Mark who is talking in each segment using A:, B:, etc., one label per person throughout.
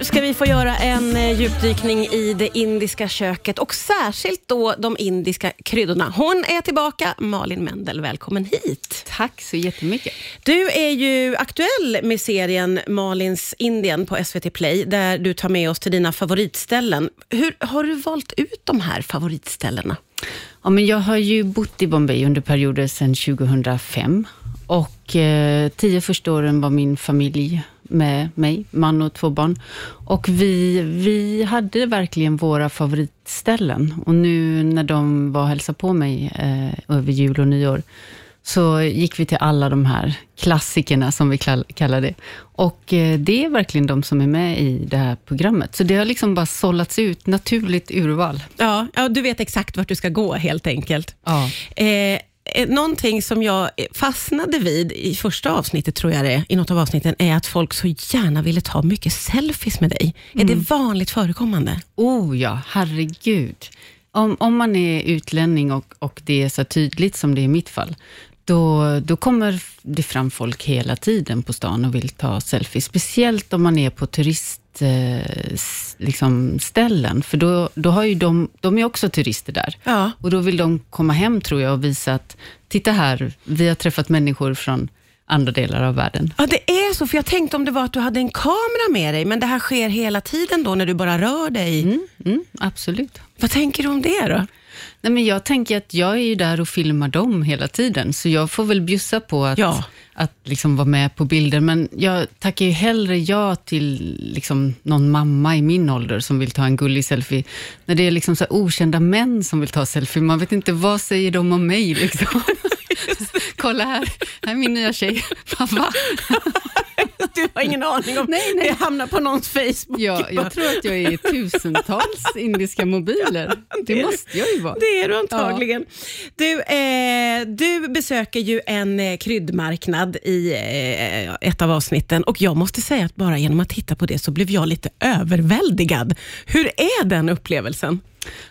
A: ska vi få göra en eh, djupdykning i det indiska köket och särskilt då de indiska kryddorna. Hon är tillbaka, Malin Mendel, välkommen hit.
B: Tack så jättemycket.
A: Du är ju aktuell med serien Malins Indien på SVT Play, där du tar med oss till dina favoritställen. Hur har du valt ut de här favoritställena?
B: Ja, men jag har ju bott i Bombay under perioder sedan 2005 och eh, tio första åren var min familj med mig, man och två barn. Och vi, vi hade verkligen våra favoritställen och nu när de var och hälsade på mig eh, över jul och nyår så gick vi till alla de här klassikerna, som vi kall- kallar det. Och eh, det är verkligen de som är med i det här programmet. Så det har liksom bara sållats ut, naturligt urval.
A: Ja, ja du vet exakt vart du ska gå helt enkelt.
B: Ja.
A: Eh, eh, någonting som jag fastnade vid i första avsnittet, tror jag det är, i något av avsnitten, är att folk så gärna ville ta mycket selfies med dig. Är det vanligt förekommande?
B: Oh ja, herregud. Om, om man är utlänning och, och det är så tydligt som det är i mitt fall, då, då kommer det fram folk hela tiden på stan och vill ta selfies. Speciellt om man är på turistställen, eh, s- liksom ställen, för då, då har ju de, de är också turister där.
A: Ja.
B: Och då vill de komma hem, tror jag, och visa att, titta här, vi har träffat människor från andra delar av världen.
A: Ja, det är så. För jag tänkte om det var att du hade en kamera med dig, men det här sker hela tiden då när du bara rör dig.
B: Mm, mm, absolut.
A: Vad tänker du om det då?
B: Nej, men jag tänker att jag är ju där och filmar dem hela tiden, så jag får väl bjussa på att,
A: Ja.
B: att liksom vara med på bilder. Men jag tackar ju hellre ja till liksom någon mamma i min ålder som vill ta en gullig selfie, när det är liksom så här okända män som vill ta selfie. Man vet inte, vad säger de om mig? Liksom. Kolla här, här är min nya tjej. Pappa.
A: Du har ingen aning om
B: Nej, nej.
A: det hamnar på någons Facebook.
B: Ja, jag tror att jag är i tusentals indiska mobiler. Det måste jag ju vara.
A: Det är du antagligen. Du, eh, du besöker ju en eh, kryddmarknad i eh, ett av avsnitten och jag måste säga att bara genom att titta på det så blev jag lite överväldigad. Hur är den upplevelsen?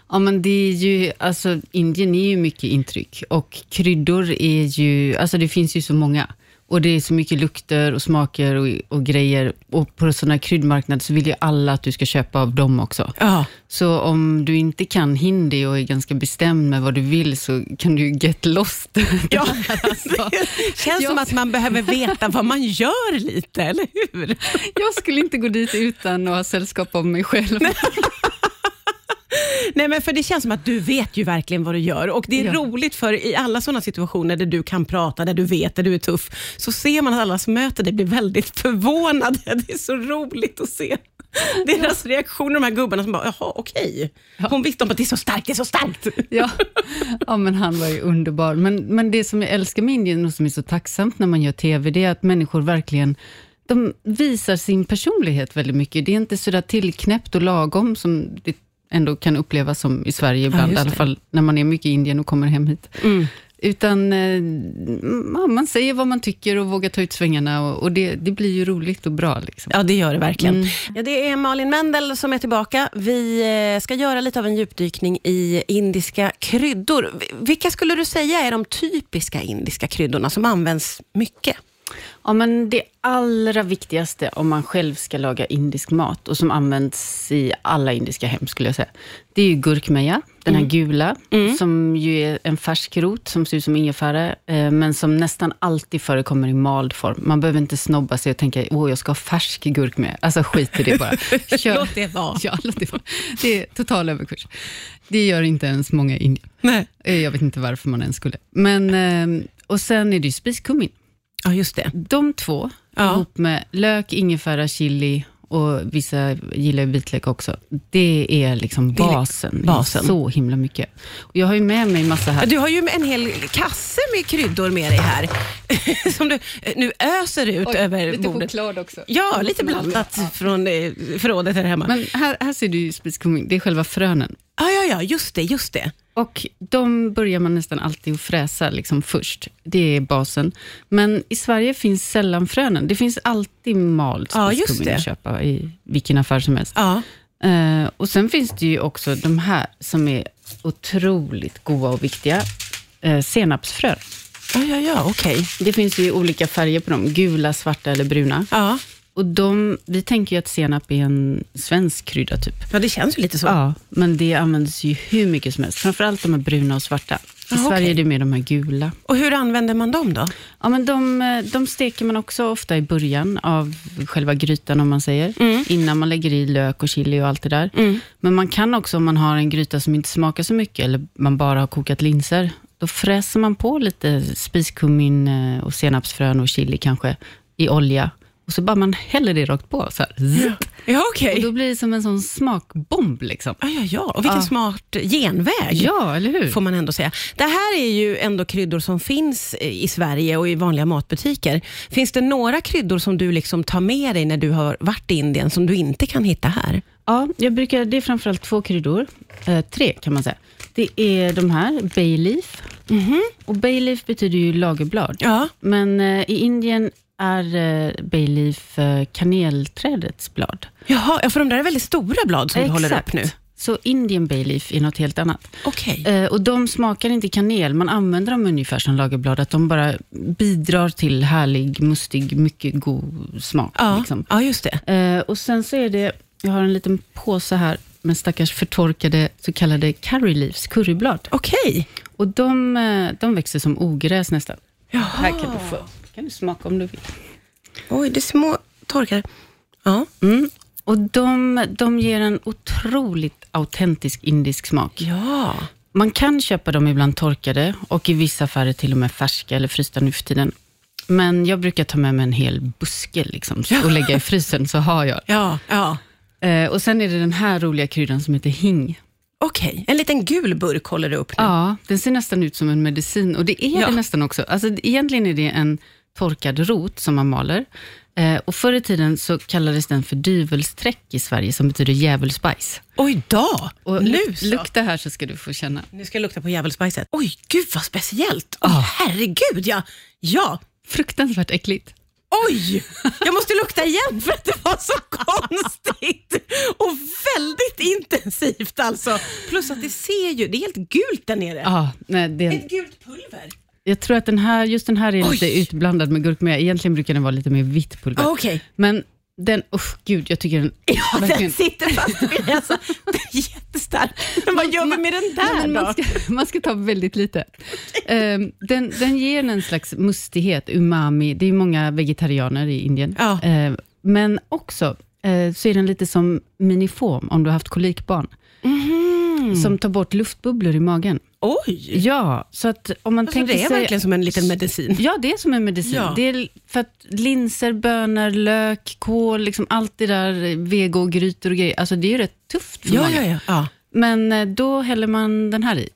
B: Ja, men det är ju, alltså Indien är ju mycket intryck och kryddor är ju, alltså det finns ju så många. Och det är så mycket lukter och smaker och, och grejer. Och på sådana här kryddmarknader så vill ju alla att du ska köpa av dem också.
A: Ja.
B: Så om du inte kan hindi och är ganska bestämd med vad du vill så kan du get lost.
A: Ja,
B: Alltså,
A: det känns som
B: jag-
A: att man behöver veta vad man gör lite, eller hur?
B: Jag skulle inte gå dit utan att ha sällskap av mig själv.
A: Nej, men för Det känns som att du vet ju verkligen vad du gör och det är
B: Ja.
A: roligt för i alla sådana situationer där du kan prata, där du vet, där du är tuff, så ser man att alla som möter dig blir väldigt förvånade. Det är så roligt att se deras reaktioner, de här gubbarna som bara, jaha, okej. Hon visste om att det är så starkt, det är så starkt.
B: Ja. ja, men han var ju underbar. Men, men det som jag älskar med Indien och som är så tacksamt när man gör TV, det är att människor verkligen de visar sin personlighet väldigt mycket. Det är inte sådär tillknäppt och lagom som det ändå kan upplevas som i Sverige ibland, i
A: just
B: alla
A: det. Mm.
B: fall när man är mycket i Indien och kommer hem hit. Utan eh, man- man säger vad man tycker och vågar ta ut svängarna och, och det, det blir ju roligt och bra. Liksom.
A: Ja, det gör det verkligen. Ja, det är Malin Mendel som är tillbaka. Vi eh, ska göra lite av en djupdykning i indiska kryddor. Vi- Vilka skulle du säga är de typiska indiska kryddorna som används mycket?
B: Ja, men det allra viktigaste om man själv ska laga indisk mat och som används i alla indiska hem, skulle jag säga, det är ju gurkmeja, den
A: Mm.
B: här gula, som ju är en färsk rot som ser ut som ingefära, eh, men som nästan alltid förekommer i mald form. Man behöver inte snobba sig och tänka, åh, jag ska ha färsk gurkmeja. Alltså skit i det bara. Kör.
A: Låt det vara.
B: Ja, låt det vara. Det är total överkurs. Det gör inte ens många i Indien.
A: Nej.
B: Eh, Jag vet inte varför man ens skulle. Men, eh, och sen är det ju spiskummin.
A: Ja, just det.
B: De två,
A: Ja.
B: ihop med lök, ingefära, chili och vissa gillar ju vitlök också. Det är liksom
A: Det är li-
B: basen. i
A: basen.
B: Så himla mycket. Och jag har ju med mig massa här.
A: Du har ju en hel kasse med kryddor med dig här, som du eh, nu öser ut över bordet.
B: också.
A: Ja, lite blandat från eh, förrådet här hemma.
B: Men här, här ser du ju spiskummin, det är själva frönen.
A: ja, ja, ja, just det, just det.
B: Och de börjar man nästan alltid att fräsa liksom först. Det är basen. Men i Sverige finns sällan frönen. Det finns alltid mald
A: Ja, just
B: spiskummin
A: det.
B: att köpa i vilken affär som helst.
A: Ja.
B: Eh, och sen finns det ju också de här som är otroligt goda och viktiga. Eh, senapsfrön.
A: Ja, ja, ja, okej.
B: Det finns ju olika färger på dem, gula, svarta eller bruna.
A: Ja.
B: Och de, vi tänker ju att senap är en svensk krydda typ.
A: Ja, det känns ju lite så.
B: Ja, men det används ju hur mycket som helst. Framförallt de här bruna och svarta. I
A: Ah,
B: Sverige
A: okej.
B: är det mer de här gula.
A: Och hur använder man dem då?
B: Ja, men de, eh, de steker man också ofta i början av själva grytan, om man säger. Innan man lägger i lök och chili och allt det där. Men man kan också, om man har en gryta som inte smakar så mycket, eller man bara har kokat linser, då fräser man på lite spiskummin eh, och senapsfrön och chili kanske i olja. Och så bara man häller det rakt på. Så här. Zzzt.
A: Ja, okej.
B: Och då blir det som en sån smakbomb. Liksom.
A: Ja, ja, ja. Och vilken
B: Ja.
A: smart genväg.
B: Ja, eller hur?
A: Får man ändå säga. Det här är ju ändå kryddor som finns i Sverige och i vanliga matbutiker. Finns det några kryddor som du liksom tar med dig när du har varit i Indien som du inte kan hitta här?
B: Ja, jag brukar, det är framförallt två kryddor. Eh, tre kan man säga. Det är de här, bay leaf. Och bay leaf betyder ju lagerblad.
A: Ja.
B: Men eh, i Indien är eh, bay leaf eh, kanelträdets blad.
A: Jaha, ja, för de där är väldigt stora blad som du håller upp nu.
B: Så Indian bay leaf är något helt annat.
A: Okej.
B: Eh, och De smakar inte kanel, man använder dem ungefär som lagerblad. Att de bara bidrar till härlig, mustig, mycket god smak.
A: Ja.
B: Liksom.
A: ja, just det.
B: Eh, och sen så är det, jag har en liten påse här med stackars förtorkade så kallade curry leaves, curryblad.
A: Okej.
B: Och de, eh, de växer som ogräs nästan.
A: Jaha.
B: Här kan du få. kan du smaka om du vill.
A: Oj, det är små torkar. Ja.
B: Mm. Och de, de ger en otroligt autentisk indisk smak.
A: Ja.
B: Man kan köpa dem ibland torkade och i vissa affärer till och med färska eller frysta nu för tiden. Men jag brukar ta med mig en hel buske liksom, och lägga i frysen, så har jag.
A: Ja. ja.
B: Eh, och sen är det den här roliga kryddan som heter hing.
A: Okej, en liten gul burk håller du upp nu.
B: Ja, den ser nästan ut som en medicin och det är
A: Ja.
B: det nästan också. Alltså, egentligen är det en torkad rot som man maler. Eh, och förr i tiden så kallades den för dyvelsträck i Sverige, som betyder djävulsbajs.
A: Oj då!
B: Och
A: nu
B: luk-
A: så.
B: lukta här så ska du få känna.
A: Nu ska jag lukta på djävulsbajset. Oj, gud vad speciellt!
B: Ah.
A: Oj, Herregud, ja. Ja,
B: Fruktansvärt äckligt.
A: Oj! Jag måste lukta igen för att det var så konstigt och väldigt intensivt alltså. Plus att det ser ju, det är helt gult där nere.
B: Ja, nej, det,
A: Ett gult pulver.
B: jag tror att den här, just den här är
A: Oj.
B: lite utblandad med gurkmeja. Egentligen brukar den vara lite mer vitt pulver.
A: Ah, Okej,
B: Men den, usch gud, jag tycker den...
A: ja, den
B: verkligen-
A: sitter fast i mig. Alltså, den är jättestark. Men vad gör vi med den
B: Nej,
A: där
B: men
A: då?
B: man, ska, man ska ta väldigt lite. Ehm, den, den ger en slags mustighet, umami. Det är ju många vegetarianer i Indien.
A: Ja.
B: Ehm, men också eh, så är den lite som miniform, om du har haft kolikbarn,
A: Mhm.
B: som tar bort luftbubblor i magen.
A: Oj!
B: Ja, så att om man
A: Alltså,
B: tänker
A: det är
B: sig...
A: verkligen som en liten medicin.
B: Ja, det är som en medicin.
A: Ja.
B: Det är för att linser, bönor, lök, kål, liksom allt det där, vegogrytor och grejer, alltså det är ju rätt tufft för
A: Ja,
B: magen.
A: ja, ja. ja.
B: Men eh, då häller man den här i.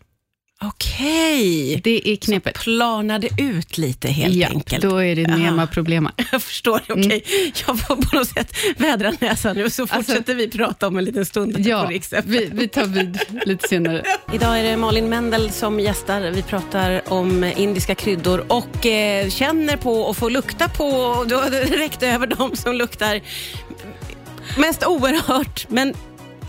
A: Okej.
B: Det är knepet.
A: Planade ut lite helt
B: ja,
A: enkelt.
B: då är det
A: Ja.
B: nema problema.
A: Jag förstår,
B: Mm.
A: okej. Jag får på något sätt vädra näsan nu, så fortsätter vi prata om en liten stund här på
B: Alltså- Ja,
A: Rix FM.
B: vi, vi tar vid lite senare.
A: Idag är det Malin Mendel som gästar. Vi pratar om indiska kryddor och eh, känner på och får lukta på. Och Då räckte över dem som luktar mest oerhört, men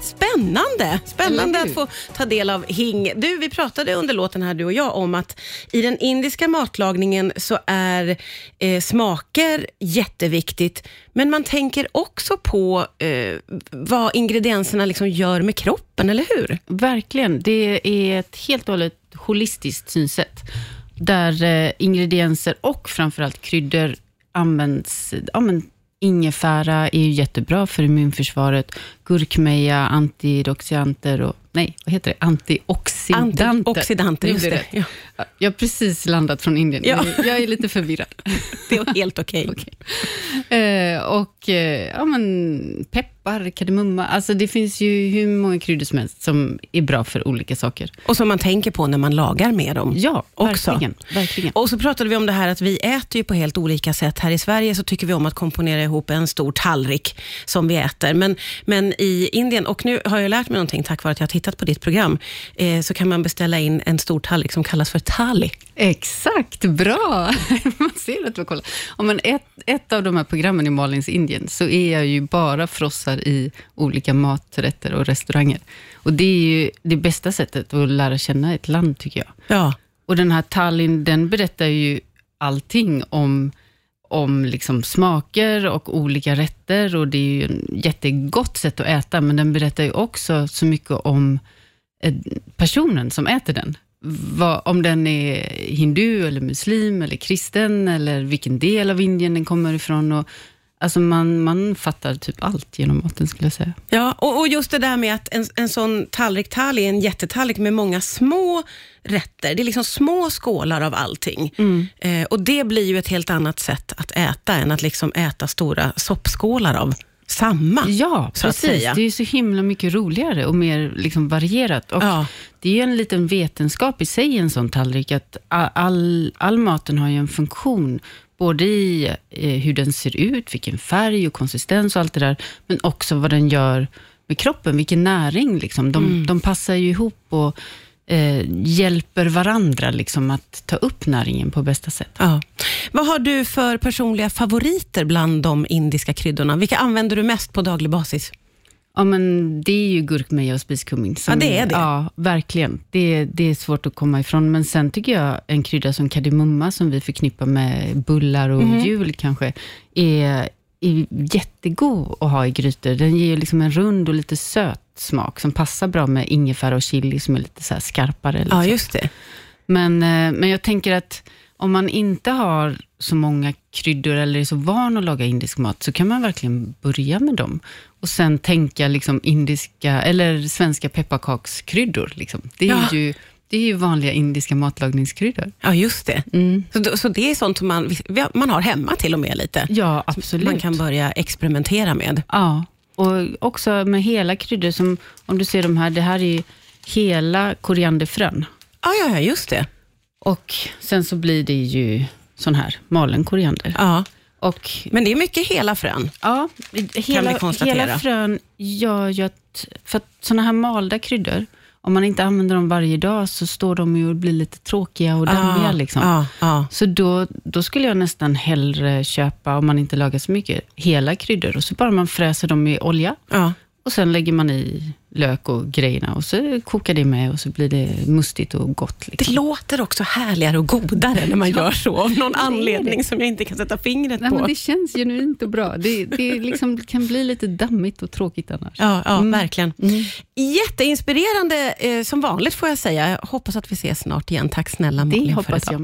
A: spännande. Spännande
B: Eller
A: att
B: hur?
A: få ta del av hing. Du, vi pratade under låten här du och jag om att i den indiska matlagningen så är eh, smaker jätteviktigt, men man tänker också på eh, vad ingredienserna liksom gör med kroppen, eller hur?
B: Verkligen, det är ett helt och hållet holistiskt synsätt, där eh, ingredienser och framförallt kryddor används. Ja, men, ingefära är ju jättebra för immunförsvaret, gurkmeja, antioxidanter och, nej, vad heter det? Antioxidanter.
A: Antioxidanter,
B: Nu
A: just
B: blev
A: det.
B: rätt. Jag har precis landat från Indien,
A: Ja.
B: jag är lite förvirrad.
A: Det är helt okej.
B: Eh, och eh, ja, men peppar, kardemumma, alltså det finns ju hur många kryddor som helst som är bra för olika saker.
A: Och som man tänker på när man lagar med dem.
B: Ja,
A: Också.
B: verkligen. verkligen.
A: Och så pratade vi om det här att vi äter ju på helt olika sätt. Här i Sverige så tycker vi om att komponera ihop en stor tallrik som vi äter. Men, men i Indien, och nu har jag lärt mig någonting tack vare att jag har tittat på ditt program, eh, så kan man beställa in en stor tallrik som kallas för thali.
B: Exakt, bra! man ser att vi kollar. Om man ett, ett av de här programmen i Malins Indien, så är jag ju bara frossar i olika maträtter och restauranger. Och det är ju det bästa sättet att lära känna ett land, tycker jag.
A: Ja.
B: Och den här Tallinn, den berättar ju allting om, om liksom smaker och olika rätter och det är ju ett jättegott sätt att äta, men den berättar ju också så mycket om eh, personen som äter den. Vad- om den är hindu eller muslim eller kristen eller vilken del av Indien den kommer ifrån. Och, alltså man, man fattar typ allt genom maten skulle jag säga.
A: Ja, och, och just det där med att en, en sån tallrik tall är en jättetallrik med många små rätter. Det är liksom små skålar av allting. Eh, och det blir ju ett helt annat sätt att äta än att liksom äta stora soppskålar av samma.
B: Ja,
A: så att
B: precis.
A: säga.
B: Det är ju så himla mycket roligare och mer liksom varierat. Och
A: Ja.
B: Det är ju en liten vetenskap i sig, en sån tallrik, att a- all, all maten har ju en funktion, både i eh, hur den ser ut, vilken färg och konsistens och allt det där, men också vad den gör med kroppen, vilken näring. Liksom. De,
A: Mm.
B: de passar ju ihop och eh, hjälper varandra liksom, att ta upp näringen på bästa sätt.
A: Ja. Vad har du för personliga favoriter bland de indiska kryddorna? Vilka använder du mest på daglig basis?
B: Ja, men det är ju gurkmeja och spiskummin. som-
A: Ja, det är det.
B: Ja, verkligen. Det, det är svårt att komma ifrån. Men sen tycker jag en krydda som kardemumma, som vi förknippar med bullar och
A: Mhm.
B: jul kanske, är, är jättegod att ha i grytor. Den ger ju liksom en rund och lite söt smak, som passar bra med ingefära och chili, som är lite så här skarpare. Liksom.
A: Ja, just det.
B: Men, eh, men jag tänker att om man inte har så många kryddor eller är så van att laga indisk mat, så kan man verkligen börja med dem. Och sen tänka liksom indiska, eller svenska pepparkakskryddor. Liksom. Det, är
A: Ja.
B: ju, det är ju vanliga indiska matlagningskryddor.
A: Ja, just det. Så, då- så det är sånt som man, vi har- man har hemma till och med lite.
B: Ja, absolut.
A: Man kan börja experimentera med.
B: Ja, och också med hela kryddor. Som, om du ser de här, det här är ju hela korianderfrön.
A: Ja, ja, ja just det.
B: Och sen så blir det ju sån här, malen koriander.
A: Ja.
B: Och
A: Men det är mycket hela frön.
B: Ja,
A: vi
B: hela,
A: konstatera.
B: hela frön gör ju att, för att sådana här malda kryddor, om man inte använder dem varje dag så står de ju och blir lite tråkiga och dammiga.
A: Ah,
B: liksom.
A: ah, ah.
B: Så då, då skulle jag nästan hellre köpa, om man inte lagar så mycket, hela kryddor och så bara man fräser dem i olja
A: Ja.
B: och sen lägger man i lök och grejerna och så kokar det med och så blir det mustigt och gott. Liksom.
A: Det låter också härligare och godare när man gör så, av någon anledning som jag inte kan sätta fingret
B: Nej,
A: på.
B: men det känns genuint och bra. Det, det liksom kan bli lite dammigt och tråkigt annars.
A: Ja, ja
B: Mm.
A: verkligen. Jätteinspirerande eh, som vanligt får jag säga. Jag hoppas att vi ses snart igen. Tack snälla
B: Det
A: Malin för
B: hoppas
A: idag.
B: jag